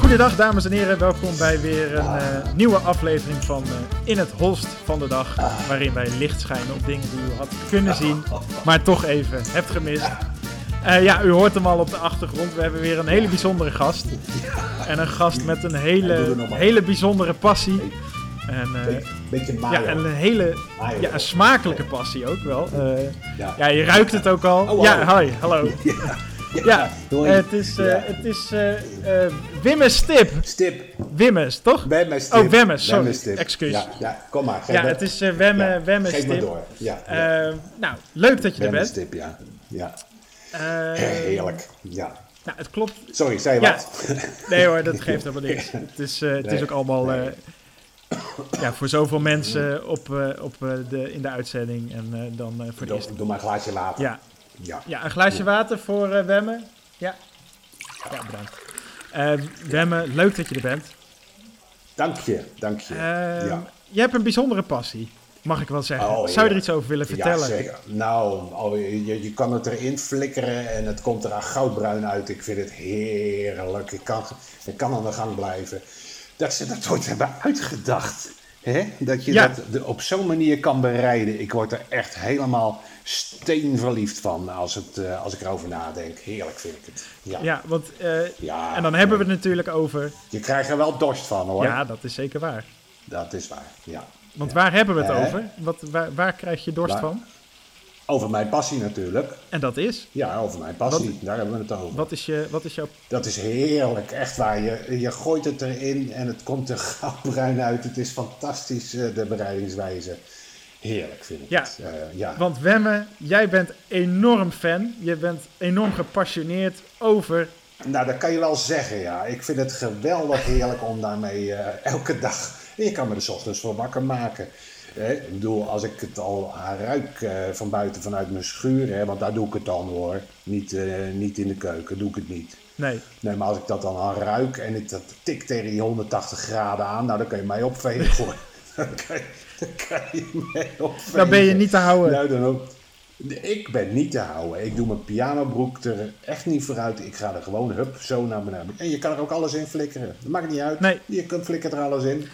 Goedendag dames en heren, welkom bij weer een eh, nieuwe aflevering van eh, In het Holst van de Dag. Waarin wij licht schijnen op dingen die u had kunnen zien, maar toch even hebt gemist. Eh, ja, u hoort hem al op de achtergrond. We hebben weer een hele bijzondere gast. En een gast met een Doe er hele, nog maar. hele bijzondere passie. En, eh, Beetje ja, Mario. en een hele Mario. ja, een smakelijke passie ook wel. Eh, Ah, Ja. ja, je ruikt het ook al. Oh, ja, oh. hoi, hallo. Ja, Hoi. eh, het is, eh, Ja. het is eh, eh, Wimme Stip. Stip. Wimmes, toch? Wemmes stip. Oh, Wemmes, sorry. stip. Excuus. Ja, ja, kom maar. Geef Ja, maar- het is eh Wemme, ja, Wemme Geef Stip. maar door. Ja, Eh, ja. nou, leuk dat je er Wemmes bent. stip, ja. ja. Eh, Heerlijk. Ja. nou, het klopt. Sorry, zei je Ja. wat? Nee hoor, dat geeft helemaal niks. Het is, eh, het is Nee, ook allemaal eh, ja, voor zoveel mensen op, eh, op, eh, de, in de uitzending en eh, dan eh, voor de eerste. doe, doe maar een glaasje water. Ja, Ja. ja een glaasje water voor eh Wemme. Ja. ja, bedankt. Eh, Wemme, leuk dat je er bent. Dank je, dank je. Ehm, ja. Je hebt een bijzondere passie, mag ik wel zeggen. Oh, Zou je er ja. iets over willen vertellen? Ja, zeker. Nou, al- je, je kan het erin flikkeren en het komt er aan goudbruin uit. Ik vind het heerlijk. Ik kan, ik kan aan de gang blijven. Dat ze dat ooit hebben uitgedacht. hè? Dat je Ja. dat de- op zo'n manier kan bereiden. Ik word er echt helemaal steenverliefd van als, het, eh, als ik erover nadenk. Heerlijk vind ik het. Ja. Ja, want eh, Ja, en dan hebben we het natuurlijk over. Je krijgt er wel dorst van hoor. Ja, dat is zeker waar. Dat is waar. Ja. Want waar hebben we het Eh? over? Wat, waar, waar krijg je dorst Waar? van? Over mijn passie natuurlijk. En dat is. Ja, over mijn passie. Daar hebben we het over. Wat is, je, wat is jouw. Dat is heerlijk, echt waar. Je, je gooit het erin en het komt er goudbruin uit. Het is fantastisch, eh, de bereidingswijze. Heerlijk vind ik Ja. het. Eh, ja. Want Wemme, jij bent enorm fan. Je bent enorm gepassioneerd over. Nou, dat kan je wel zeggen, ja. Ik vind het geweldig heerlijk om daarmee eh, elke dag... Je kan me er 's ochtends voor wakker maken. Eh, ik bedoel, als ik het al ruik eh, van buiten vanuit mijn schuur... Hè, want daar doe ik het dan, hoor. Niet, eh, niet in de keuken, doe ik het niet. Nee. Nee, maar als ik dat dan aan ruik en ik dat tik tegen die 180 graden aan, nou dan kun je mij opvegen voor. dan, kan je, dan kan je mij opvegen. Dan ben je niet te houden. Nou, dan ook. Ik ben niet te houden. Ik doe mijn pianobroek er echt niet vooruit. Ik ga er gewoon hup zo naar beneden. En je kan er ook alles in flikkeren. Dat maakt niet uit. Nee. Je kunt flikker er alles in.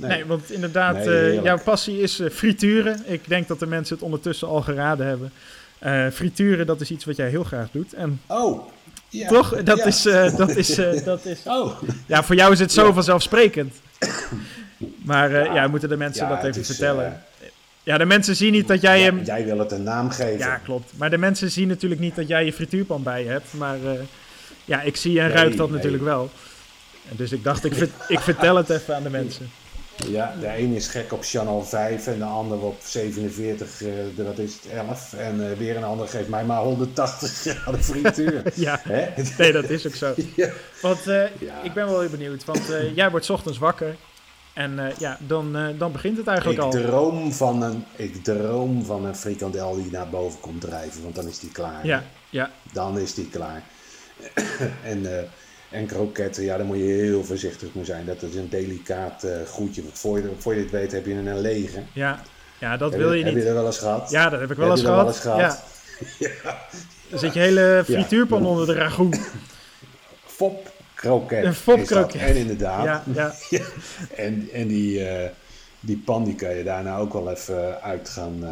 Nee. Nee, want inderdaad, Nee, eh, heerlijk. jouw passie is eh, frituren. Ik denk dat de mensen het ondertussen al geraden hebben. Eh, frituren, dat is iets wat jij heel graag doet. En Oh. Ja. toch, dat Ja. is. eh, dat is, eh, dat is Oh. Ja, voor jou is het zo vanzelfsprekend. Maar eh, ja, Ja. moeten de mensen Ja, dat het even is, eh, vertellen. ja, de mensen zien niet dat jij jij, hem... Ja, jij wil het een naam geven. klopt. Maar de mensen zien natuurlijk niet dat jij je frituurpan bij je hebt. Maar eh, ja, ik zie en Nee, ruik dat nee. natuurlijk wel. En dus ik dacht, ik, ver- ik vertel het even aan de mensen. Ja, de een is gek op Channel 5 en de ander op 47, eh, de- wat is het, 11. En eh, weer een ander geeft mij maar 180 graden frituur. Ja, Hè? nee, dat is ook zo. Ja. Want eh, Ja. ik ben wel heel benieuwd. Want eh, jij wordt 's ochtends wakker. En eh, ja, dan, eh, dan begint het eigenlijk Ik al. droom, van een, ik droom van een frikandel die naar boven komt drijven, want dan is die klaar. Ja, ja, Dan is die klaar. en, eh, en kroketten, ja, daar moet je heel voorzichtig mee zijn. Dat is een delicaat eh goedje. Want voor je, voor je dit weet heb je een lege. ja. Ja, dat wil je Heb niet. je er wel eens gehad? Ja, dat heb ik wel Heb eens je dat gehad. wel eens gehad? Ja. Dan zit je hele frituurpan Ja. onder de ragout. Fopkroket. Een fopkroket. is dat. En inderdaad. Ja, ja. En, en die, eh, die pan die kan je daarna ook wel even uit gaan. eh,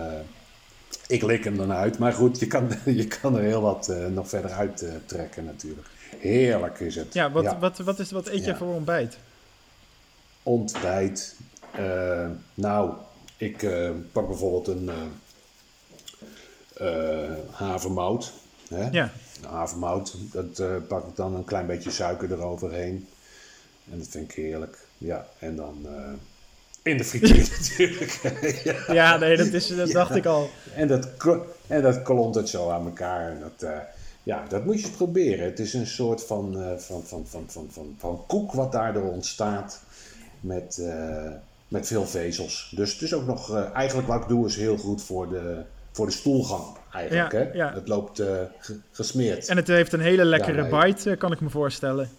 ik lik hem dan uit. Maar goed, je kan, je kan er heel wat eh, nog verder uit eh, trekken natuurlijk. Heerlijk is het. Ja, wat, Wat, wat, is, wat eet je Ja. voor ontbijt? Ontbijt. eh, nou, ik eh, pak bijvoorbeeld een eh, eh, havermout. Hè? Ja, havermout. Dat eh, pak ik dan een klein beetje suiker eroverheen. En dat vind ik heerlijk. Ja, en dan eh, in de frituur natuurlijk. ja. ja nee, dat, is, dat dacht ik al. En dat, kro- en dat klont het zo aan elkaar. En dat, eh, ja, dat moet je eens proberen. Het is een soort van, eh, van, van, van, van, van, van koek wat daardoor ontstaat. Met, eh, met veel vezels. Dus het is ook nog, eh, eigenlijk wat ik doe is heel goed voor de, voor de stoelgang. Eigenlijk, Ja, hè? ja. Het loopt eh, ge- gesmeerd. En het heeft een hele lekkere Ja, nee. bite, eh, kan ik me voorstellen.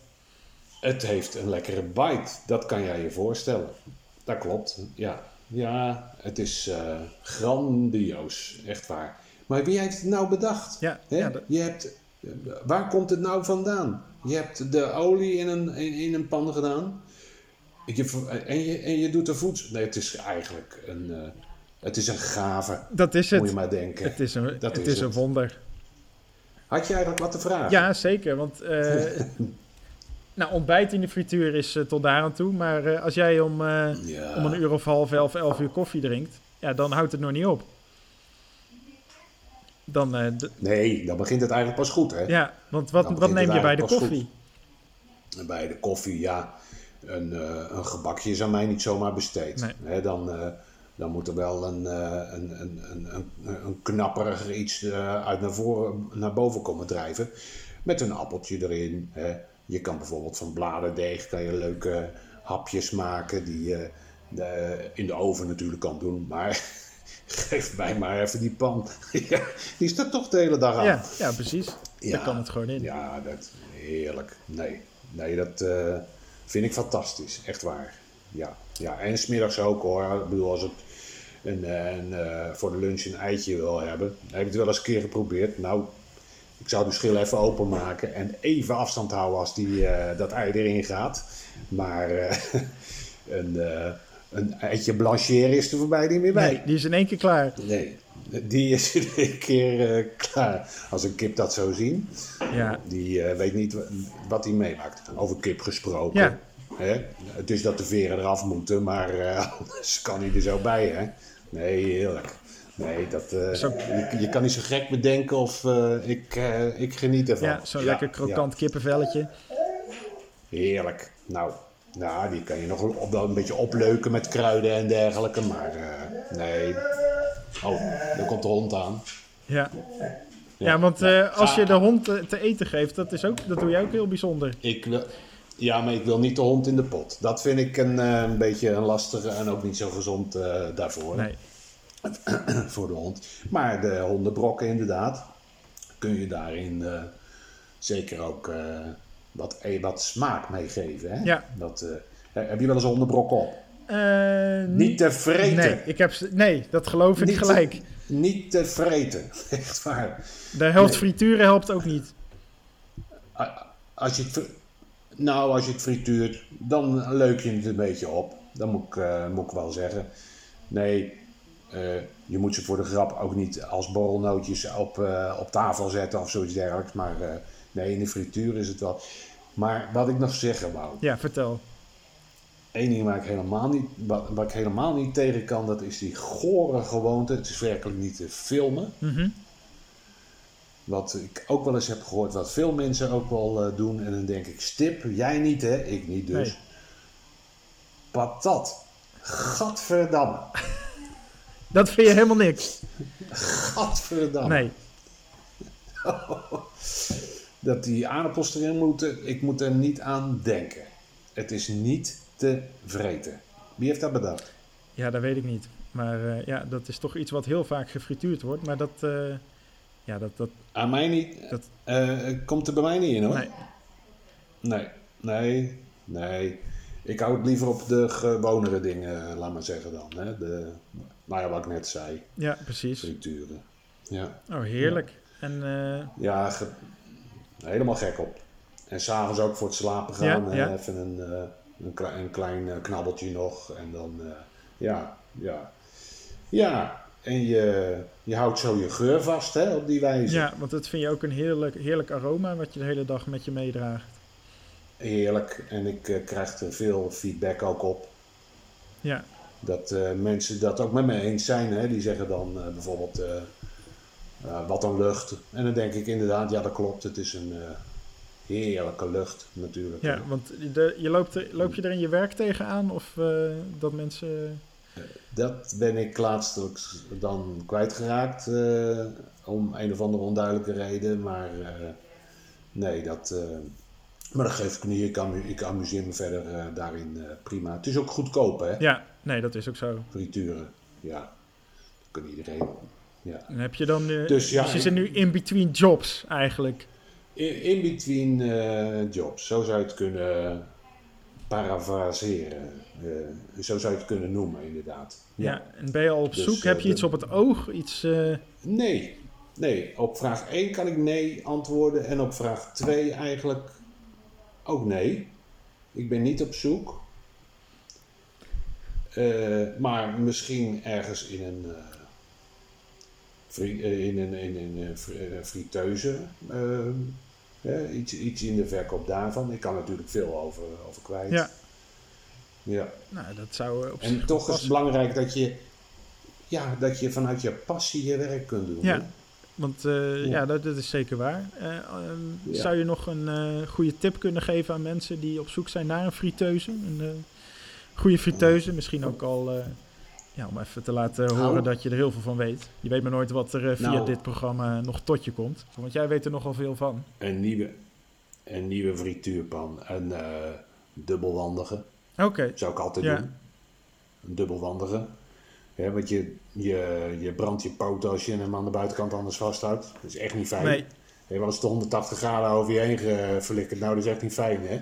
Het heeft een lekkere bite, dat kan jij je voorstellen. Dat klopt, ja. Ja, het is eh, grandioos, echt waar. Maar wie heeft het nou bedacht? Ja, Hè? ja, dat- Je hebt, waar komt het nou vandaan? Je hebt de olie in een, in, in een pan gedaan. Je, ver- en, je, en je doet er voedsel. Nee, het is eigenlijk een, eh, het is een gave, Dat is moet je het. maar denken. Het is een, Dat het is is een het. wonder. Had je eigenlijk wat te vragen? Ja, zeker. Want eh, nou, ontbijt in de frituur is eh, tot daar aan toe. Maar eh, als jij om, eh, Ja. om een uur of half elf, elf uur koffie drinkt, ja, dan houdt het nog niet op. Dan, eh, d- Nee, dan begint het eigenlijk pas goed, hè? ja, want wat, Dan wat begint neem het je bij de eigenlijk pas koffie? En Bij de koffie, ja, een, eh, een gebakje is aan mij niet zomaar besteed. Nee. Hè, dan, eh, dan moet er wel een, eh, een, een, een, een, een knapperiger iets eh, uit naar, voren, naar boven komen drijven. Met een appeltje erin. Hè. Je kan bijvoorbeeld van bladerdeeg kan je leuke hapjes maken die je eh, in de oven natuurlijk kan doen. Maar geef mij maar even die pan. Ja, die staat toch de hele dag aan. Ja, ja, precies. Ja. Daar kan het gewoon in. Ja, dat heerlijk. Nee, nee dat eh, vind ik fantastisch. Echt waar. Ja, ja. en smiddags ook hoor. Ik bedoel, als het een, eh, een, eh, voor de lunch een eitje wil hebben. Heb ik het wel eens een keer geprobeerd. Nou, ik zou de schil even openmaken en even afstand houden als die, eh, dat ei erin gaat. Maar eh, een, eh, een eitje blancheren is er voorbij niet meer bij. Nee, die is in één keer klaar. Nee, die is in één keer eh, klaar. Als een kip dat zou zien, Ja, die eh, weet niet wa- wat hij meemaakt. Over kip gesproken. Ja. Hè? Het is dat de veren eraf moeten, maar eh, anders kan hij er zo bij, hè? Nee, heerlijk. Nee, dat, eh, Zo- je, je kan niet zo gek bedenken of eh, ik, eh, ik geniet ervan. ja zo'n lekker krokant kippenvelletje. ja, heerlijk. Nou, nou, die kan je nog op, wel een beetje opleuken met kruiden en dergelijke, maar eh, nee. Oh, daar komt de hond aan. Ja, ja want eh, als je de hond eh, te eten geeft, dat, is ook, dat doe jij ook heel bijzonder. Ik wil, ja, maar ik wil niet de hond in de pot. Dat vind ik een, eh, een beetje een lastige en ook niet zo gezond eh, daarvoor. Nee, Voor de hond. Maar de hondenbrokken inderdaad. Kun je daarin eh, zeker ook eh, wat, eh, wat smaak meegeven. Hè? Ja. Dat, eh, heb je wel eens hondenbrokken op? Eh, Niet te vreten. Nee, ik heb, ze- nee, dat geloof ik Niet- gelijk. Niet te vreten. Echt waar. De helft frituren helpt ook niet. A- Als je het, fri- nou, als je het frituurt, dan leuk je het een beetje op. Dat moet ik, eh, moet ik wel zeggen. Nee, eh, je moet ze voor de grap ook niet als borrelnootjes op, eh, op tafel zetten of zoiets dergelijks. Maar eh, nee, in de frituur is het wel. Maar wat ik nog zeggen wou, Ja, vertel. één ding waar ik helemaal niet, wat, waar ik helemaal niet tegen kan, dat is die gore gewoonte. Het is werkelijk niet te filmen. Mhm. Wat ik ook wel eens heb gehoord, wat veel mensen ook wel eh, doen. En dan denk ik, stip, jij niet hè, ik niet dus. Nee. Patat. Gadverdamme. Dat vind je helemaal niks. Gadverdamme. Nee, Dat die aardappels erin moeten, ik moet er niet aan denken. Het is niet te vreten. Wie heeft dat bedacht? ja, dat weet ik niet. Maar eh, ja, dat is toch iets wat heel vaak gefrituurd wordt. Maar dat, eh, ja, dat, dat, Aan mij niet. Dat- Eh, komt er bij mij niet in hoor. nee. Nee, nee, nee. Ik hou het liever op de gewonere dingen, eh, laat maar zeggen dan. Hè? De, nou ja, wat ik net zei, Ja, precies. frituren. Ja, Oh, heerlijk. En eh, ja ge- helemaal gek op. En s'avonds ook voor het slapen gaan. Ja, hè, ja. Even een, eh, een, kle- een klein eh, knabbeltje nog. En dan, eh, ja, ja. Ja, en je, je houdt zo je geur vast hè, op die wijze. ja, want dat vind je ook een heerlijk, heerlijk aroma wat je de hele dag met je meedraagt. Heerlijk. En ik eh, krijg er veel feedback ook op. Ja, Dat eh, mensen dat ook met me eens zijn. Hè? Die zeggen dan eh, bijvoorbeeld eh, eh, wat een lucht. En dan denk ik inderdaad, ja dat klopt. Het is een eh, heerlijke lucht natuurlijk. ja want de, je loopt er, loop je er in je werk tegenaan? Of eh, dat mensen... Dat ben ik laatst ook dan kwijtgeraakt. eh, om een of andere onduidelijke reden. Maar eh, nee, dat... eh, maar dat geef ik niet. Ik, amu- ik amuseer me verder eh, daarin eh, prima. Het is ook goedkoop hè, Ja, nee, dat is ook zo. frituren. Ja, dat kan iedereen. Ja. En heb je dan... eh, Dus dus, ja, je zit nu in between jobs eigenlijk. In, in between eh, jobs, zo zou je het kunnen parafraseren. Eh, zo zou je het kunnen noemen, inderdaad. Ja. en ben je al op Dus, zoek? eh, Heb je de- iets op het oog? Iets, eh, Nee, nee. Op vraag 1 kan ik nee antwoorden en op vraag 2 eigenlijk Ook nee. Ik ben niet op zoek. Eh, maar misschien ergens in een, eh, fri- eh, in een, in een eh, fri- eh, friteuze. eh, hè, iets, iets in de verkoop daarvan. Ik kan natuurlijk veel over, over kwijt. Ja. ja. Nou, dat zou eh, op zich En toch is passen. het belangrijk dat je, ja, dat je vanuit je passie je werk kunt doen. Ja. hè? Want eh, Ja. ja, dat, dat is zeker waar. Eh, ehm, Ja. Zou je nog een eh, goede tip kunnen geven aan mensen die op zoek zijn naar een friteuze? Een eh, goede friteuze, misschien ook al eh, ja, om even te laten Nou. horen dat je er heel veel van weet. Je weet maar nooit wat er eh, via Nou. dit programma nog tot je komt. Want jij weet er nogal veel van. Een, nieuwe, een nieuwe frituurpan. Een eh, dubbelwandige. Oké, Zou ik altijd Ja. doen. Een dubbelwandige. Ja, want je, je, je brandt je poot als je hem aan de buitenkant anders vasthoudt. Dat is echt niet fijn. nee. Je hebt wel eens de 180 graden over je heen ge- verlikkerd. Nou, dat is echt niet fijn, hè?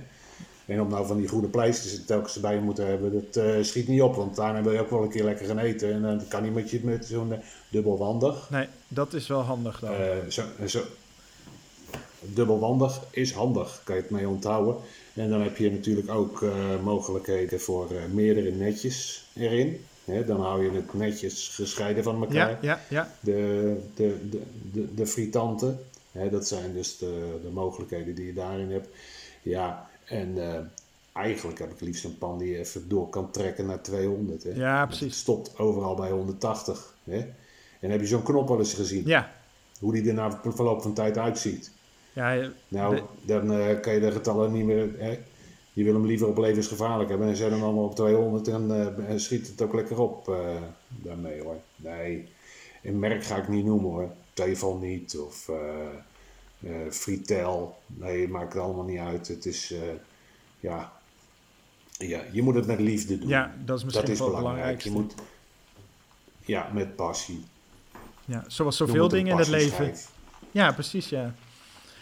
En om nou van die groene pleisters er telkens bij moeten hebben, dat eh, schiet niet op. Want daarna wil je ook wel een keer lekker gaan eten. En eh, dan kan niet met, je, met zo'n eh, dubbelwandig. nee, dat is wel handig dan. Eh, zo, zo. Dubbelwandig is handig, kan je het mee onthouden. En dan heb je natuurlijk ook eh, mogelijkheden voor eh, meerdere netjes erin. Hè, dan hou je het netjes gescheiden van elkaar. ja, ja, ja. De, de, de, de, de fritanten, hè, dat zijn dus de, de mogelijkheden die je daarin hebt. Ja, en eh, eigenlijk heb ik het liefst een pan die je even door kan trekken naar 200. Hè. Ja, precies. Het stopt overal bij 180. Hè. En heb je zo'n knop al eens gezien? Ja, hoe die er na verloop van tijd uitziet. ja, eh, Nou, De- dan eh, kan je de getallen niet meer. Hè? Je wil hem liever op levensgevaarlijk hebben en zet hem allemaal op 200 en eh, en schiet het ook lekker op eh, daarmee hoor. Nee, een merk ga ik niet noemen hoor. Telefoon niet of eh eh Fritel. Nee, maakt het allemaal niet uit. Het is, eh, ja. ja, je moet het met liefde doen. ja, dat is misschien dat is wel het belangrijk. belangrijkste. Je moet, ja, met passie. ja, zoals Je zoveel moet een dingen in het passie leven. schrijven. Ja, precies, ja.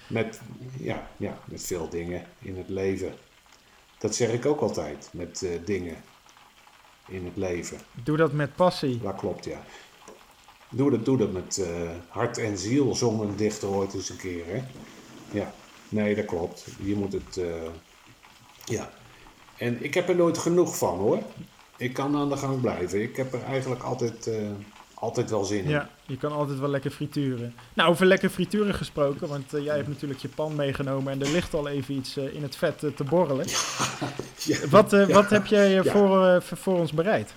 Met, ja, ja, met veel dingen in het leven. Dat zeg ik ook altijd, met eh, dingen in het leven. Doe dat met passie. Dat klopt, ja. Doe dat, doe dat met eh, hart en ziel, zong een dichter ooit eens een keer, hè? Ja, nee, dat klopt. Je moet het, eh, ja. En ik heb er nooit genoeg van, hoor. Ik kan aan de gang blijven. Ik heb er eigenlijk altijd, eh, altijd wel zin in. Ja, je kan altijd wel lekker frituren. Nou, over lekker frituren gesproken, want eh, jij hebt natuurlijk je pan meegenomen en er ligt al even iets eh, in het vet eh, te borrelen. Ja. Wat, eh, wat heb jij eh, Ja. voor, eh, voor, voor ons bereid?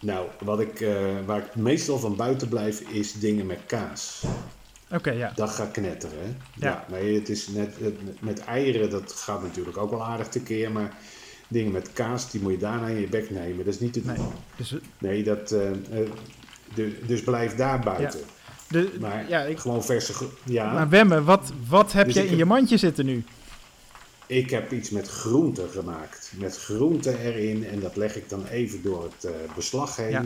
Nou, wat ik, eh, waar ik meestal van buiten blijf, is dingen met kaas. Oké, ja. Dat gaat knetteren, hè? Ja. nee, het is net, het- met eieren, dat gaat natuurlijk ook wel aardig tekeer, maar dingen met kaas, die moet je daarna in je bek nemen. Dat is niet te doen. Nee. Nee, Dus, eh, dat, eh, eh, du- dus blijf daar buiten. de, Maar ja, ik, gewoon verse... gro- Ja, maar Wemme, wat, wat heb Dus jij ik in je heb- mandje zitten nu? ik heb iets met groenten gemaakt. Met groenten erin en dat leg ik dan even door het eh, beslag heen. Ja.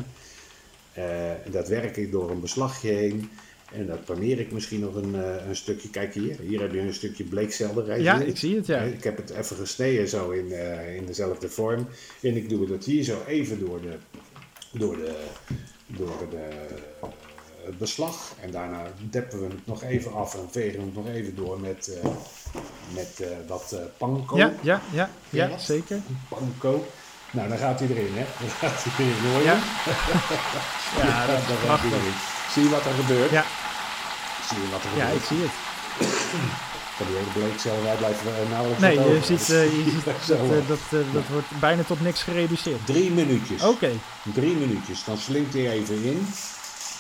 Eh, en dat werk ik door een beslagje heen. En dat paneer ik misschien nog een, eh, een stukje. Kijk hier, hier heb je een stukje bleekselderij. Ja, Hier. Eh, ik zie het, ja. Ik heb het even gesneden zo in, eh, in dezelfde vorm. En ik doe dat hier zo even door, de, door, de, door de, het beslag. En daarna deppen we het nog even af en vegen we het nog even door met, eh, met eh, wat eh panko. Ja, ja, ja, ja, Ja. zeker. Panko. Nou, dan gaat hij erin, hè? Dan gaat hij erin, hoor je? Ja. Ja, dat dan is gaat hij prachtig. erin. Zie je wat er gebeurt? Ja, Zie je wat er ja, gebeurt? ik zie het. Van die hele bleekselderij blijft eh, nauwelijks Nee, wat je over. ziet, eh, je ziet Ja, dat, zo, eh, hoor. dat, eh, dat wordt bijna tot niks gereduceerd. Drie minuutjes. Oké, Drie minuutjes. Dan slinkt hij even in.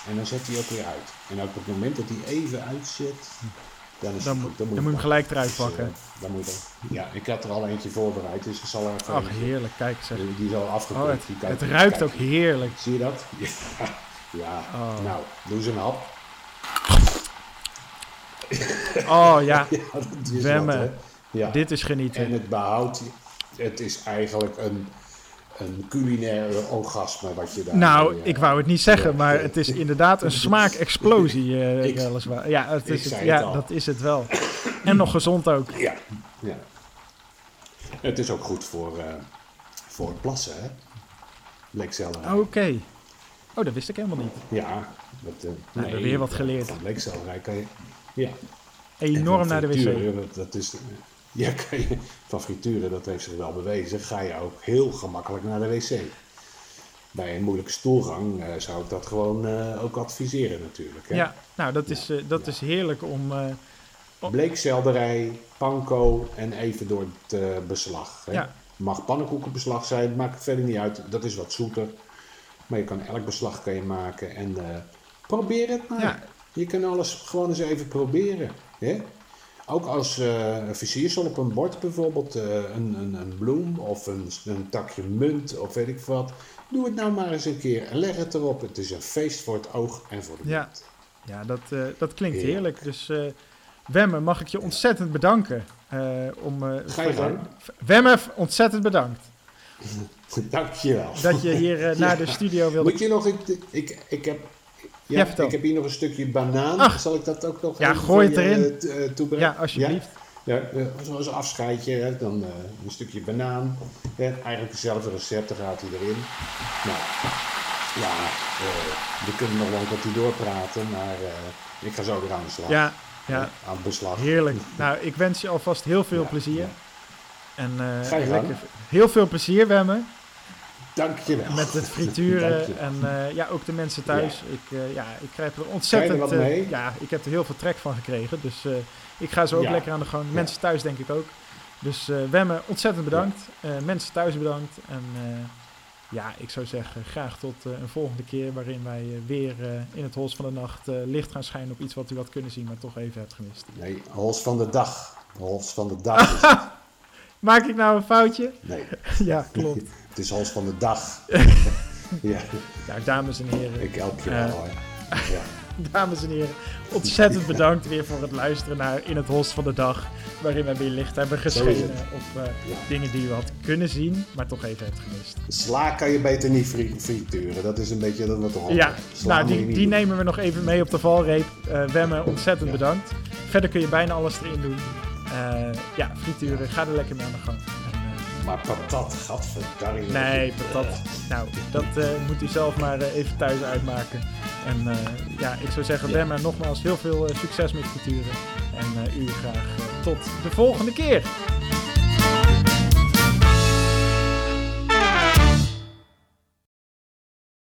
En dan zet hij ook weer uit. En op het moment dat hij even uitzet, dan is dan, het mo- goed. dan moet je je hem gelijk eruit pakken. Dus, eh, dan moet je hem- ja, ik had er al eentje voorbereid, dus ik zal er even... Ach, heerlijk, kijk zeg. Die is al afgekomen. Oh, het, het ruikt ook heerlijk. Zie je dat? Ja. ja. Oh. Nou, doe eens een hap. Oh ja, Ja, dat is Zwemmen. wat, hè. Ja. dit is En genieten. het behoud, het is eigenlijk een, een culinaire orgasme wat je daar... Nou, eh, ik wou het niet zeggen, maar het is inderdaad een smaakexplosie. eh, Ik- weliswaar. Ja, het ik is het, zei ja het al. dat is het wel. En nog gezond ook. Ja, ja. Het is ook goed voor, eh, voor het plassen, hè? Bleekselderij. Oké. Oh, dat wist ik helemaal niet. Ja. Dat, eh, we hebben weer wat geleerd. Van bleekselderij kan je... Ja. Enorm En van naar de wc. frituur, Dat is, Ja, kan je, van frituren, dat heeft zich wel bewezen, ga je ook heel gemakkelijk naar de wc. Bij een moeilijke stoelgang eh, zou ik dat gewoon eh, ook adviseren natuurlijk. Hè? Ja, nou, dat is, eh, dat is heerlijk om... eh, Bleekselderij, panko en even door het eh, beslag. Hè? Ja. Mag pannenkoekenbeslag zijn, maakt verder niet uit. Dat is wat zoeter. Maar je kan elk beslag kan je maken en eh, probeer het maar. Ja. Je kan alles gewoon eens even proberen. Hè? Ook als eh een versiersel op een bord bijvoorbeeld, eh, een, een, een bloem of een, een takje munt of weet ik wat. Doe het nou maar eens een keer en leg het erop. Het is een feest voor het oog en voor de Ja. mond. ja, dat, eh, dat klinkt Heerlijk. heerlijk. Dus eh Wemme, mag ik je ontzettend bedanken. eh, om, eh, Ga je voor- gang. Wemme, ontzettend bedankt Dankjewel. dat je hier eh, naar de studio wilde Moet je nog, ik, ik, ik heb... Ja, Ja, vertel. ik heb hier nog een stukje banaan. Ach. Zal ik dat ook nog Ja, even gooi voor het je, erin. eh, t- eh, toebrengen? Ja, alsjeblieft. Ja, eh, zoals een afscheidje, hè, dan eh, een stukje banaan. Hè, eigenlijk dezelfde recepten gaat hij erin. Nou, ja, eh, we kunnen nog wel een kwartier doorpraten, maar eh, ik ga zo weer aan de slag. Ja, Eh, ja, Aan het beslag. heerlijk. Nou, ik wens je alvast heel veel Ja, plezier. ja. En eh, Ga je gang. lekker, heel veel plezier, Wemme. Dankjewel. Met het Dank je. frituren en eh, ja, ook de mensen thuis. Ik, eh, ja, ik krijg er ontzettend... wat eh, mee? ja, ik heb er heel veel trek van gekregen. Dus eh, ik ga zo ook Ja. lekker aan de gang. Mensen thuis denk ik ook. Dus eh Wemme, ontzettend bedankt. Eh, mensen thuis bedankt. En eh, ja, ik zou zeggen graag tot eh, een volgende keer... waarin wij eh, weer eh, in het hols van de nacht eh, licht gaan schijnen... op iets wat u had kunnen zien, maar toch even hebt gemist. Nee, Hols van de dag. Hols van de dag. Ah, is het. Maak ik nou een foutje? Nee, ja, klopt. het is Hols van de dag. ja. Nou, dames en heren... Ik help je Eh. wel hoor. Ja. Dames en heren, ontzettend bedankt weer voor het luisteren naar In het Hols van de Dag. Waarin we weer licht hebben Zo geschenen is het. op eh, Ja. dingen die u had kunnen zien, maar toch even hebt gemist. Sla kan je beter niet fri- frituren. Dat is een beetje dat wat toch ja, nou, die, die nemen we nog even mee op de valreep. Eh Wemme, ontzettend Ja. bedankt. Verder kun je bijna alles erin doen. Eh, ja, frituren, ga er lekker mee aan de gang. En, eh, Maar patat, gadverdarrie. nee, patat. Nou, dat eh, moet u zelf maar eh, even thuis uitmaken. En eh, ja, ik zou zeggen, Ja. Wemme, nogmaals heel veel eh, succes met frituren. En eh, u graag eh, tot de volgende keer.